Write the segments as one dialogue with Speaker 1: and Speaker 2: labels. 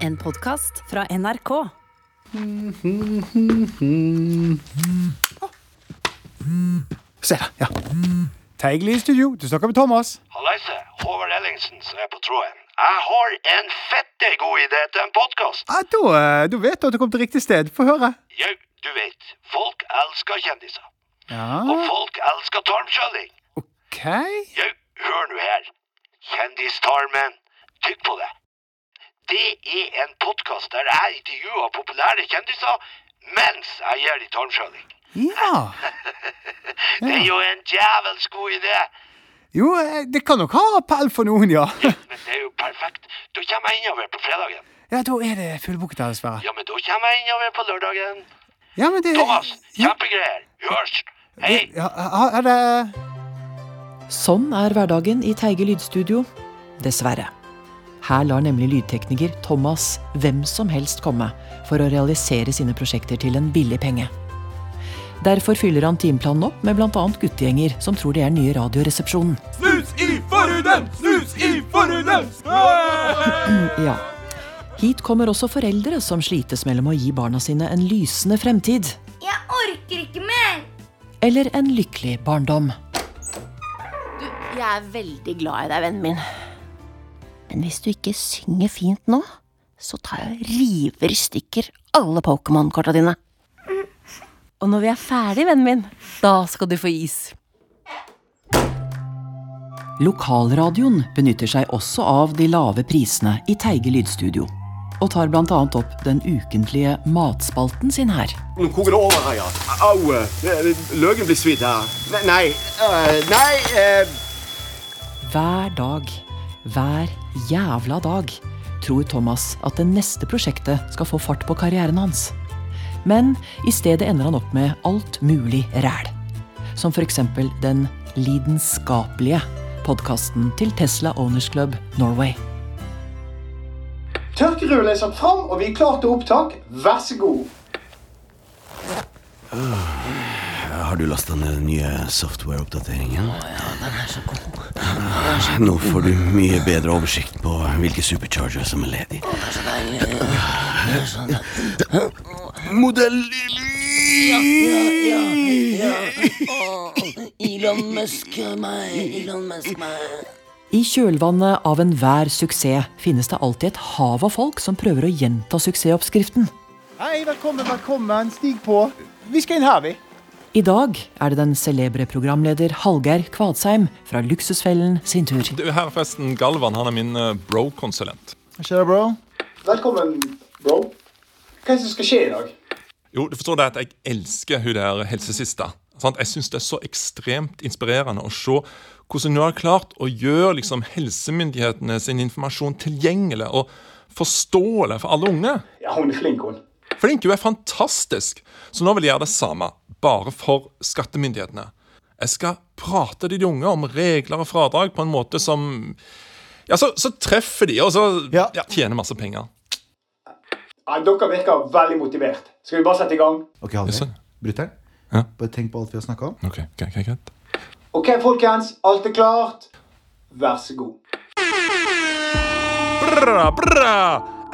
Speaker 1: En podkast fra NRK.
Speaker 2: Se der, ja. Teigli i studio, du snakker med Thomas.
Speaker 3: Hallaise, Håvard Ellingsen som er på tråden. Jeg har en fette god idé til en podkast.
Speaker 2: Ja, da, eh, da vet du at du kom til riktig sted. Få høre.
Speaker 3: Jau, du vet, folk elsker kjendiser.
Speaker 2: Ja,
Speaker 3: Og folk elsker tarmskjølling.
Speaker 2: OK.
Speaker 3: Jau, hør nå her. Kjendistarmen. Tykk på det. Det er en podkast der jeg intervjuer populære kjendiser mens jeg gir dem tarmskjølling.
Speaker 2: Ja.
Speaker 3: Det er jo en djevelsk god idé.
Speaker 2: Jo, eh, det kan nok ha appell for noen, ja.
Speaker 3: Men det er jo perfekt. Da kommer jeg innover på fredagen.
Speaker 2: Ja, da er det fullbooket, dessverre.
Speaker 3: Ja, men da kommer jeg innover på lørdagen.
Speaker 2: Ja, men det
Speaker 3: Thomas,
Speaker 2: Ja,
Speaker 3: kjempegreier. Hørs. Hei.
Speaker 2: det- ja, ha- ha det.
Speaker 4: Sånn er hverdagen i Teige lydstudio. Dessverre. Her lar nemlig lydtekniker Thomas hvem som helst komme for å realisere sine prosjekter til en billig penge. Derfor fyller han timeplanen opp med bl.a. guttegjenger som tror de er nye Radioresepsjonen. Snus i forhuden! Snus i forhuden! ja. Hit kommer også foreldre som slites mellom å gi barna sine en lysende fremtid
Speaker 5: Jeg orker ikke mer!
Speaker 4: eller en lykkelig barndom.
Speaker 6: Jeg er veldig glad i deg, vennen min. Men hvis du ikke synger fint nå, så tar jeg og river i stykker alle Pokémon-korta dine. Og når vi er ferdig, vennen min, da skal du få is.
Speaker 4: Lokalradioen benytter seg også av de lave prisene i Teige lydstudio. Og tar bl.a. opp den ukentlige matspalten sin her.
Speaker 7: Nå koker det over her, ja. Au! eh, Løken blir svidd her. Nei, nei, eh, nei eh,
Speaker 4: Hver dag, hver jævla dag, tror Thomas at det neste prosjektet skal få fart på karrieren hans. Men i stedet ender han opp med alt mulig ræl. Som f.eks. den lidenskapelige podkasten til Tesla Owners Club Norway.
Speaker 8: Tørkerullet er satt fram, og vi er klare til opptak. Vær så god.
Speaker 7: Eh, Har du lasta ned den nye software-oppdateringen? Eh, Nå får du mye bedre oversikt på hvilke supercharger som er ledig. Modell
Speaker 4: I kjølvannet av enhver suksess finnes det alltid et hav av folk som prøver å gjenta suksessoppskriften.
Speaker 2: Hei, velkommen, velkommen. Stig på. Vi skal inn her, vi.
Speaker 4: I dag er det den celebre programleder Hallgeir Kvadsheim fra Luksusfellen sin tur.
Speaker 9: Du, her er forresten Galvan. Han er min eh, bro-konsulent.
Speaker 2: Hva skjer, bro?
Speaker 8: Velkommen, bro. Hva er det som skal skje i dag?
Speaker 9: Jo, du forstår det at jeg elsker hun der helsesista. Sant? Jeg syns det er så ekstremt inspirerende å se hvordan hun har klart å gjøre liksom, helsemyndighetene sin informasjon tilgjengelig og forståelig for alle unge.
Speaker 8: Ja, hun er flink, hun.
Speaker 9: Flink, hun er fantastisk! Så nå vil jeg gjøre det samme, bare for skattemyndighetene. Jeg skal prate til de unge om regler og fradrag på en måte som Ja, så, så treffer de, og så
Speaker 2: Ja.
Speaker 9: Ja, tjener masse penger.
Speaker 8: Ja, dere virker veldig motivert. Skal vi bare sette i gang?
Speaker 10: Ok, Halvor.
Speaker 9: Jaså.
Speaker 10: Brutter'n.
Speaker 9: Ja.
Speaker 10: Bare tenk på alt vi har snakka om.
Speaker 9: Ok, ok, ok, greit.
Speaker 8: Ok, folkens. Alt er klart. Vær så god.
Speaker 9: Bra, bra!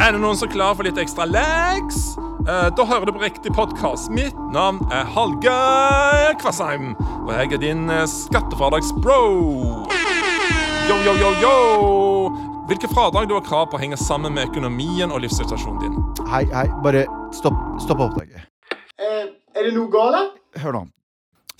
Speaker 9: Er det noen som er klar for litt ekstra legs? Eh, da hører du på riktig podkast. Mitt navn er Hallgeir Kvassheim, og jeg er din eh, skattefradragsbro. Yo, yo, yo, yo! Hvilke fradrag du har krav på, henger sammen med økonomien og livssituasjonen din.
Speaker 10: Hei, hei, bare stopp, stopp opptaket.
Speaker 8: Eh, er det noe gale?
Speaker 10: Hør nå.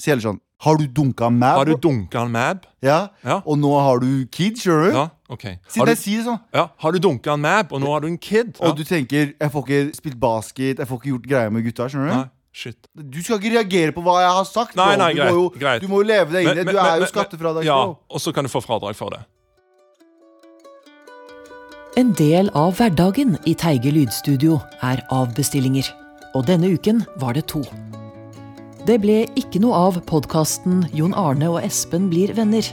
Speaker 10: Si heller sånn Har du dunka meg?
Speaker 9: Har du
Speaker 10: bro?
Speaker 9: dunka en mab?
Speaker 10: ja.
Speaker 9: Ja.
Speaker 10: Og nå har du kid, skjønner du?
Speaker 9: Ja, OK.
Speaker 10: Si
Speaker 9: Har
Speaker 10: det,
Speaker 9: du,
Speaker 10: si det sånn.
Speaker 9: ja, har du dunka en mab, og nå har du en kid? Ja.
Speaker 10: Og du tenker 'jeg får ikke spilt basket', 'jeg får ikke gjort greier med gutta'. skjønner du?
Speaker 9: Nei, shit.
Speaker 10: Du skal ikke reagere på hva jeg har sagt. bro.
Speaker 9: Nei, nei,
Speaker 10: du,
Speaker 9: greit,
Speaker 10: må jo,
Speaker 9: greit.
Speaker 10: du må jo leve deg inn i det.
Speaker 9: Men-
Speaker 10: Du
Speaker 9: men-
Speaker 10: er jo
Speaker 9: men-
Speaker 10: skattefradrag.
Speaker 9: Ja,
Speaker 10: bro.
Speaker 9: og så kan du få fradrag for det.
Speaker 4: En del av hverdagen i Teige lydstudio er avbestillinger. Og denne uken var det to. Det ble ikke noe av podkasten Jon Arne og Espen blir venner.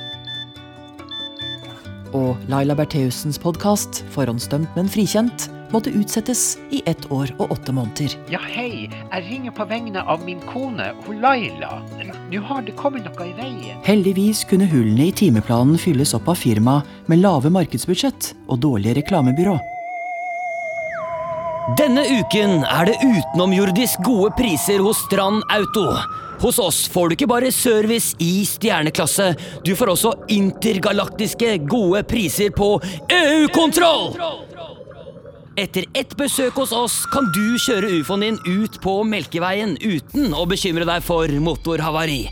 Speaker 4: Og Laila Bertheussens podkast, forhåndsdømt, men frikjent, måtte utsettes i ett år og åtte måneder.
Speaker 11: Ja, hei. Jeg ringer på vegne av min kone, hun Laila. Nå har det kommet noe i veien.
Speaker 4: Heldigvis kunne hullene i timeplanen fylles opp av firma med lave markedsbudsjett og dårlige reklamebyrå.
Speaker 12: Denne uken er det utenomjordisk gode priser hos Strand Auto. Hos oss får du ikke bare service i stjerneklasse, du får også intergalaktiske gode priser på EU-kontroll! Etter ett besøk hos oss kan du kjøre ufoen din ut på Melkeveien uten å bekymre deg for motorhavari.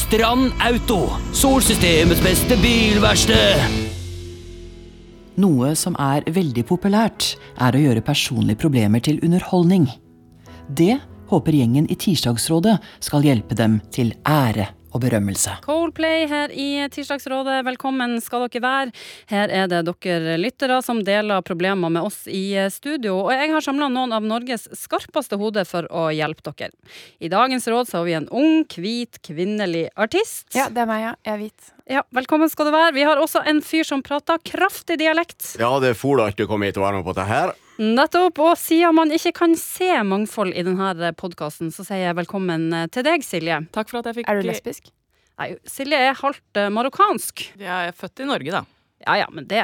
Speaker 12: Strand Auto, solsystemets beste bilverksted.
Speaker 4: Noe som er veldig populært, er å gjøre personlige problemer til underholdning. Det håper gjengen i Tirsdagsrådet skal hjelpe dem til ære og berømmelse.
Speaker 13: Coldplay her i Tirsdagsrådet, velkommen skal dere være. Her er det dere lyttere som deler problemer med oss i eh, studio, og jeg har samla noen av Norges skarpeste hoder for å hjelpe dere. I dagens råd så har vi en ung, hvit, kvinnelig artist.
Speaker 14: Ja, det er meg, ja. Jeg er hvit.
Speaker 13: Ja, velkommen skal du være. Vi har også en fyr som prater kraftig dialekt.
Speaker 15: Ja, det er fola ikke å komme hit og være med på dette her.
Speaker 13: Nettopp. Og siden man ikke kan se mangfold i denne podkasten, så sier jeg velkommen eh, til deg, Silje.
Speaker 16: Takk for at jeg fikk
Speaker 14: Er du lesbisk?
Speaker 13: Nei, Silje er halvt eh, marokkansk.
Speaker 16: Jeg er født i Norge, da.
Speaker 13: Ja ja, men det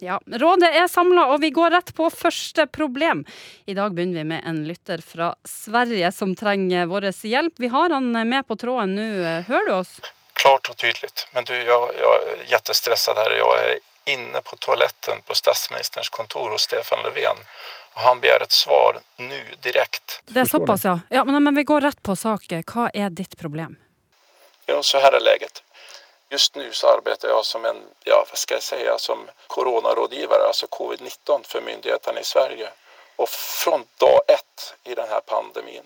Speaker 13: ja. Rådet er samla, og vi går rett på første problem. I dag begynner vi med en lytter fra Sverige som trenger vår hjelp. Vi har han eh, med på tråden nå. eh, Hører du oss?
Speaker 17: Klart och tydligt. Men du, jag, jag är jättestressad här. Jag är inne på toaletten på statsministerns kontor hos Stefan Löfven. Och han begär ett svar nu, direkt.
Speaker 13: Det er såpass, ja. ja men, men vi går rett på sak. Hva er ditt problem?
Speaker 17: Ja, så här är läget. Just nu så arbetar jag som en, ja vad ska jag säga, som coronarådgivare, alltså covid-19 för myndigheterna i Sverige. Och från dag ett i den här pandemin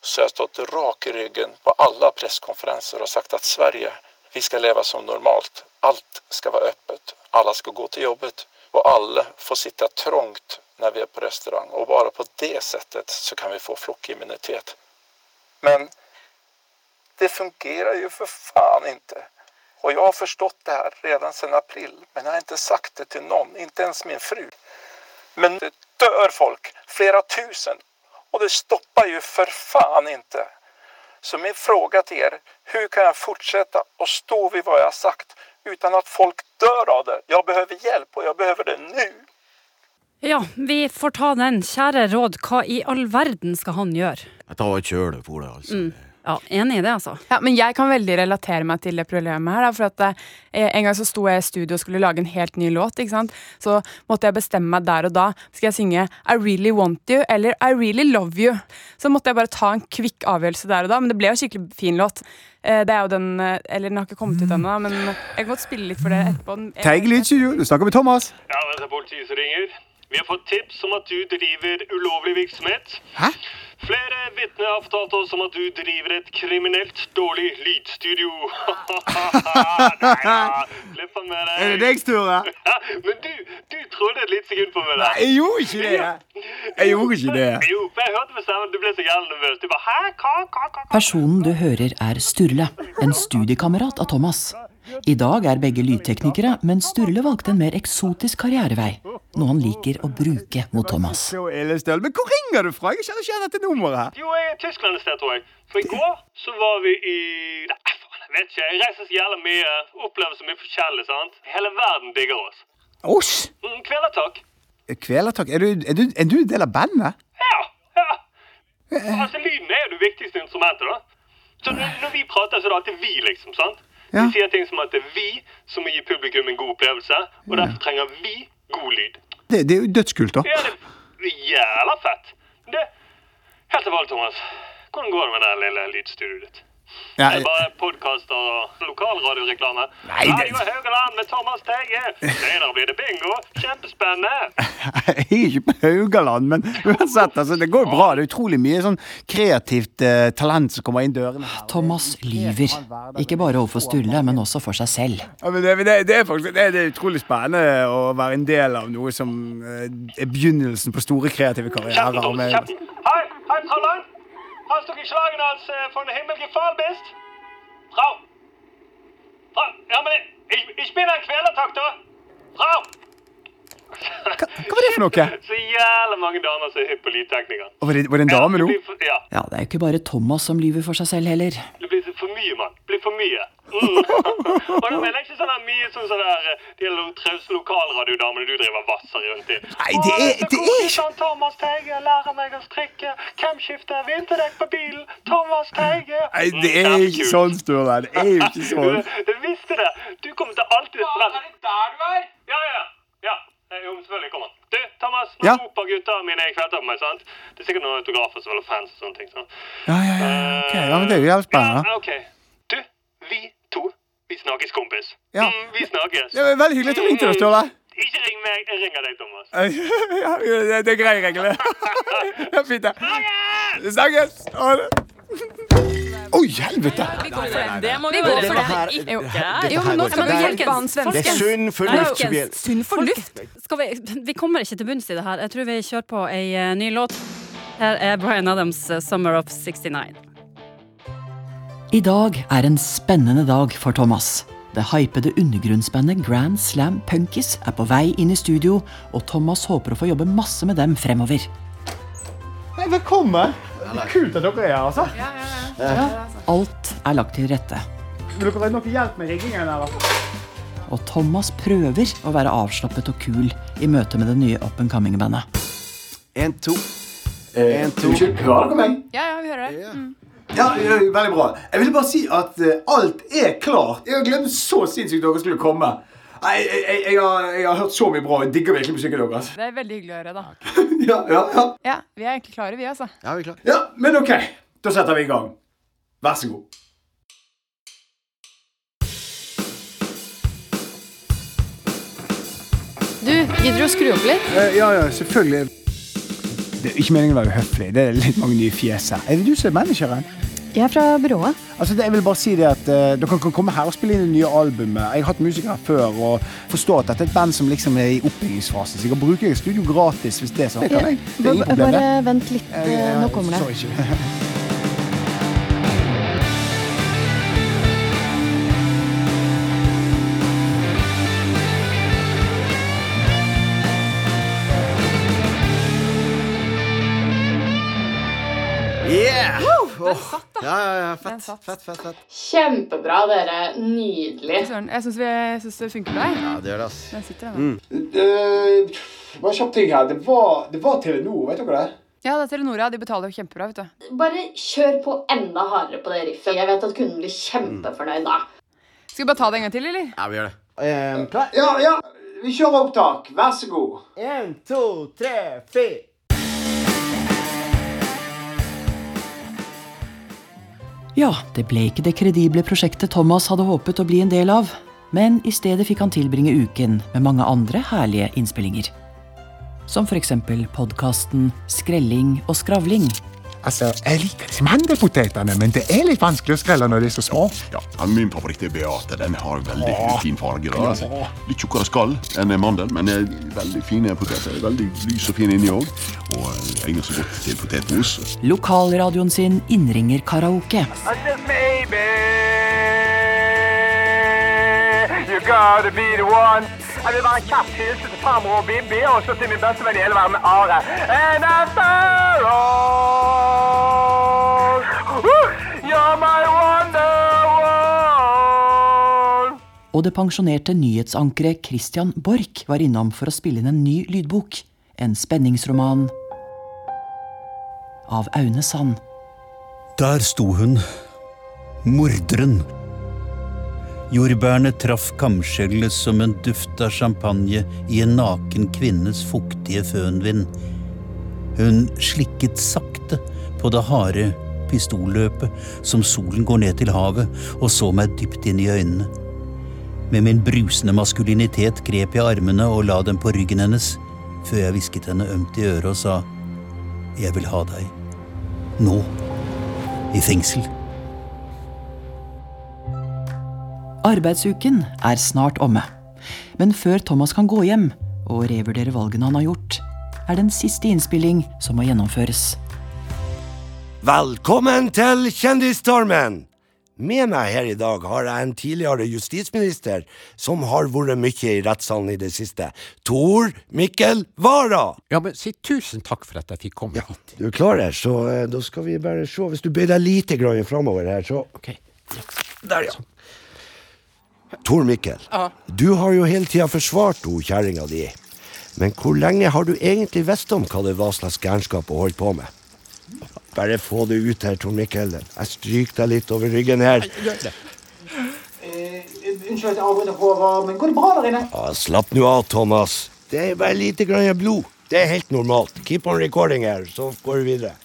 Speaker 17: så har jag stått rak i ryggen på alla presskonferenser och sagt att Sverige, vi ska leva som normalt. Allt ska vara öppet, alla ska gå till jobbet och alla får sitta trångt när vi är på restaurang och bara på det sättet så kan vi få flockimmunitet. Men det fungerar ju för fan inte. Och jag har förstått det här redan sedan april, men jag har inte sagt det till någon, inte ens min fru. Men det dör folk, flera tusen, och det stoppar ju för fan inte. Så min fråga till er, hur kan jag fortsätta och stå vid vad jag har sagt utan att folk dör av det? Jag behöver hjälp och jag behöver det nu.
Speaker 13: Ja, vi får ta den. Kjære råd, hva i all verden skal han gjøre?
Speaker 15: Jeg tar et kjøle for det, altså.
Speaker 13: Mm. Ja, Enig i det, altså.
Speaker 14: Ja, men jeg kan veldig relatere meg til det problemet her. Da, for at eh, En gang så sto jeg i studio og skulle lage en helt ny låt. ikke sant? Så måtte jeg bestemme meg der og da. Skal jeg synge I Really Want You eller I Really Love You? Så måtte jeg bare ta en kvikk avgjørelse der og da. Men det ble jo en skikkelig fin låt. Eh, det er jo den eh, Eller den har ikke kommet ut ennå, da, men jeg kan godt spille litt for dere etterpå. Den-
Speaker 2: Teig litt, studio. Du snakker med Thomas.
Speaker 18: Ja, det er politiet som ringer. Vi har fått tips om at du driver ulovlig virksomhet.
Speaker 2: Hæ?
Speaker 18: Flere vitner har fortalt oss om at du driver et kriminelt dårlig lydstudio. Neida, Slipp han med deg.
Speaker 2: Er det deg, Sture?
Speaker 18: Ja, men du, du trodde et lite sekund på meg der.
Speaker 2: Nei, jeg gjorde ikke det.
Speaker 18: Ja.
Speaker 2: Jeg gjorde ikke det.
Speaker 18: Jo, for jeg hørte på stemmen, du ble så jævlig nervøs. Du bare, hæ, hva, hva, hva?
Speaker 4: Personen du hører er Sturle, en studiekamerat av Thomas. I dag er begge lydteknikere, men Sturle valgte en mer eksotisk karrierevei. Noe han liker å bruke mot Thomas.
Speaker 2: Så elestøl. Men hvor ringer du fra? Jeg kjenner ikke igjen dette nummeret.
Speaker 18: Jo, jeg er i Tyskland et sted, tror jeg. For i går så var vi i Nei, faen, jeg vet ikke. Jeg reiser så jævla mye. Opplever så mye forskjellig, sant? Hele verden digger oss.
Speaker 2: Oss?
Speaker 18: Mm, Kvelder, takk.
Speaker 2: Eh, Kvelertak, er, du- er, du- er du en del av bandet?
Speaker 18: Altså, lyden er jo det viktigste instrumentet, da. Så når, når vi prater, så er det alltid vi, liksom. sant?
Speaker 2: Ja.
Speaker 18: Vi sier ting som at det er vi som må gi publikum en god opplevelse, og derfor trenger vi god lyd.
Speaker 2: Det, det er jo dødskult, da.
Speaker 18: Ja, det er jævla fett. Men Det, helt til valg, Thomas. Hvordan går det med det lille lydstudioet ditt?
Speaker 2: Ja,
Speaker 18: det er bare podkaster og lokalradioreklame.
Speaker 2: Nei, det-
Speaker 18: Radio Haugaland med Thomas Teige. Senere blir det bingo. Kjempespennende.
Speaker 2: Jeg er ikke på Haugaland, men uansett, altså, det går jo bra. Det er utrolig mye sånn kreativt eh, talent som kommer inn dørene. her.
Speaker 4: Thomas lyver. Ikke bare overfor Sturle, men også for seg selv.
Speaker 2: Ja, men det, men det, det, er faktisk, det, det er utrolig spennende å være en del av noe som eh, er begynnelsen på store kreative karrierer. Med,
Speaker 18: Hei, hei, Trollan. Hast du geschlagen als äh, von Himmel gefallen bist? Frau. Frau, ja, men ich, ich bin ein Kvelertakter. Frau.
Speaker 2: hva var det for noe?
Speaker 18: Så jævla mange damer som er hypp på lydteknikeren.
Speaker 2: Og var det, var det en dame nå?
Speaker 18: Ja,
Speaker 4: Ja, det er jo ikke bare Thomas som lyver for seg selv heller.
Speaker 18: det blir så for mye, mann. Det blir for mye. Mm. Og det er ikke sånn der mye sånn sånn der eh, De lo- trause lokalradiodamene du driver og vasser rundt i.
Speaker 2: Nei, det er-
Speaker 18: det er ikke Thomas Teige lærer meg å strikke. Camskifte, vinterdekk på bilen. Thomas Teige.
Speaker 2: Nei, det er ikke sånn, Sturle. Det er jo ikke sånn.
Speaker 18: Du visste det! Du kommer til alltid Ja, er det der du er? Ja, ja. ja. Eh, Jo, selvfølgelig kommer han. Du, Thomas, nå
Speaker 2: Ja.
Speaker 18: roper gutta mine i kvelder på meg, sant? Det er sikkert noen autografer som vil ha fans og sånne ting. sant?
Speaker 2: Ja, ja, ja. Ok, ja, men det er jo jævlig spennende.
Speaker 18: Ja, ok. Du, vi to, vi snakkes, kompis.
Speaker 2: Ja.
Speaker 18: Mm, vi snakkes.
Speaker 2: Det var veldig hyggelig at du ringte, da, Sturle.
Speaker 18: Ikke ring meg, jeg ringer deg, Thomas.
Speaker 2: Ja, det det er grei regel. Det er fint, det. Snakkes! Ha det. Oi, helvete!
Speaker 16: Det må vi
Speaker 14: Vi går
Speaker 16: gjøre,
Speaker 14: for
Speaker 16: for
Speaker 14: det.
Speaker 16: det er
Speaker 14: Jo.
Speaker 16: ikke
Speaker 14: Jo, men nå
Speaker 16: Folkens,
Speaker 14: skal vi hjelpe
Speaker 16: folkens,
Speaker 14: han svensken.
Speaker 16: folkens.
Speaker 14: Folkens, Sunn fornuft.
Speaker 13: Skal vi, vi kommer ikke til bunns i det her. Jeg tror vi kjører på ei eh, ny låt. Her er Bryan Adams' eh, 'Summer of 69'.
Speaker 4: I dag er en spennende dag for Thomas. Det hypede undergrunnsbandet Grand Slam Punkies er på vei inn i studio, og Thomas håper å få jobbe masse med dem fremover.
Speaker 2: Hei, velkommen. Kult at dere er her, altså.
Speaker 4: Alt er lagt til rette,
Speaker 2: Vil dere ha noe hjelp med riggingen, eller?
Speaker 4: og Thomas prøver å være avslappet og kul i møte med det nye up and coming-bandet.
Speaker 10: En, to.
Speaker 2: En,
Speaker 10: to.
Speaker 2: Hører dere meg?
Speaker 14: Ja, ja, vi hører det. Mm.
Speaker 2: Ja, ja, veldig bra. Jeg ville bare si at eh, alt er klart. Jeg har glemt så sinnssykt dere skulle komme. Nei, jeg, jeg, jeg, har, jeg har hørt så mye bra. Jeg digger virkelig musikken deres.
Speaker 14: Det er veldig hyggelig å høre, da.
Speaker 2: Ja, ja, ja.
Speaker 14: Ja, vi er egentlig klare, vi, altså.
Speaker 2: Ja, vi er klare. Ja, men ok. Da setter vi i gang. Vær så god.
Speaker 16: Du, gidder du å skru opp litt?
Speaker 2: Eh, ja, ja, selvfølgelig. Det er ikke meningen å være høflig. Det er litt mange nye fjes her. Er det du som er manageren?
Speaker 16: Jeg er fra byrået.
Speaker 2: Altså, det, jeg vil bare si det at eh, Dere kan komme her og spille inn det nye albumet. Jeg har hatt musikere før og forstår at dette er et band som liksom er i oppbyggingsfasen. Så jeg kan bruke et studio gratis hvis det er sånn. Det kan jeg. Det er ingen problem.
Speaker 16: Bare
Speaker 2: det.
Speaker 16: vent litt, eh, nå kommer det.
Speaker 2: Sorry, ikke.
Speaker 15: Yeah!
Speaker 14: Den satt, da.
Speaker 15: Ja, ja, ja.
Speaker 14: Den
Speaker 15: Fett,
Speaker 14: satt.
Speaker 15: fett, fett. fett.
Speaker 14: Kjempebra, dere. Nydelig. Jeg syns det funker med deg.
Speaker 15: Ja, det gjør det, ass.
Speaker 14: Den sitter, den.
Speaker 15: Mm.
Speaker 2: Eh, bare en kjapp ting her. Det var, det var Telenor, vet dere det?
Speaker 14: Ja, det er Telenor, ja. De betaler jo kjempebra, vet du.
Speaker 19: Bare kjør på enda hardere på det riffet. Jeg vet at kunden blir kjempefornøyd da.
Speaker 14: Skal vi bare ta det en gang til, eller?
Speaker 15: Ja, vi gjør det.
Speaker 2: Ja, ja. Vi kjører opptak. Vær så god.
Speaker 7: En, to, tre, fire.
Speaker 4: Ja, det ble ikke det kredible prosjektet Thomas hadde håpet å bli en del av, men i stedet fikk han tilbringe uken med mange andre herlige innspillinger. Som for eksempel podkasten Skrelling og skravling.
Speaker 20: Altså, Jeg liker liksom handelpotetene, men det er litt vanskelig å skrelle når de er så små.
Speaker 21: Ja, min favoritt er Beate. Den har veldig
Speaker 20: Åh.
Speaker 21: fin farge. Da. altså. Litt tjukkere skall enn en mandel, men eh, veldig fine poteter. Veldig lys og fin inni òg. Og eh, egner seg godt til potetmos.
Speaker 4: Lokalradioen sin innringer karaoke.
Speaker 18: Eh, You gotta be the one. Jeg vil være en kjapp hilsen til farmor og Bibi, og så til min beste venn i hele verden, Are. And after all, woo, you're my wonderwall.
Speaker 4: Og det pensjonerte nyhetsankeret Christian Borch var innom for å spille inn en ny lydbok. En spenningsroman av Aune Sand.
Speaker 22: Der sto hun, morderen. Jordbærene traff kamskjellet som en duft av champagne i en naken kvinnes fuktige fønvind. Hun slikket sakte på det harde pistolløpet som solen går ned til havet, og så meg dypt inn i øynene. Med min brusende maskulinitet grep jeg armene og la dem på ryggen hennes, før jeg hvisket henne ømt i øret og sa, Jeg vil ha deg. Nå i fengsel.
Speaker 4: Arbeidsuken er snart omme. Men før Thomas kan gå hjem og revurdere valgene han har gjort, er det en siste innspilling som må gjennomføres.
Speaker 23: Velkommen til Kjendisstormen! Med meg her i dag har jeg en tidligere justisminister som har vært mye i rettssalen i det siste. Tor Mikkel Wara! Ja, men si tusen takk for at jeg fikk komme hit. Du klarer, så eh, da skal vi bare se. Hvis du bøyer deg lite grann framover her, så Der, ja. Tor Mikkel,
Speaker 3: Ja.
Speaker 23: du har jo hele tida forsvart hun kjerringa di. Men hvor lenge har du egentlig visst om hva det var slags gærenskap hun holdt på med? Bare få det ut her, Tor Mikkel. Jeg stryker deg litt over ryggen her.
Speaker 2: Eh, Unnskyld at jeg avbryter, Håvard, men går det bra der inne?
Speaker 23: Ja, slapp nå av, Thomas. Det er bare lite grann blod. Det er helt normalt. Keep on recording her, så går vi videre.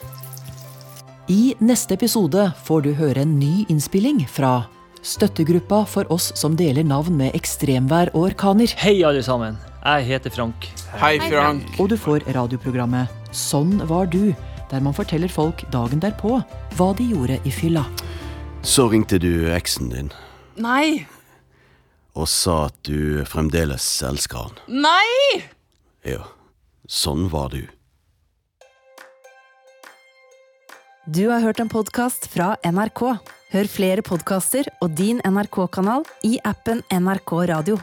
Speaker 4: I neste episode får du høre en ny innspilling fra støttegruppa for oss som deler navn med ekstremvær og orkaner.
Speaker 12: Hei, alle sammen. Jeg heter Frank.
Speaker 4: Hei, Frank. Og du får radioprogrammet Sånn var du, der man forteller folk dagen derpå hva de gjorde i fylla.
Speaker 7: Så ringte du eksen din
Speaker 3: Nei!
Speaker 7: og sa at du fremdeles elsker han.
Speaker 3: Nei!
Speaker 7: Ja, sånn var du.
Speaker 13: Du har hørt en podkast fra NRK. Hør flere podkaster og din NRK-kanal i appen NRK Radio.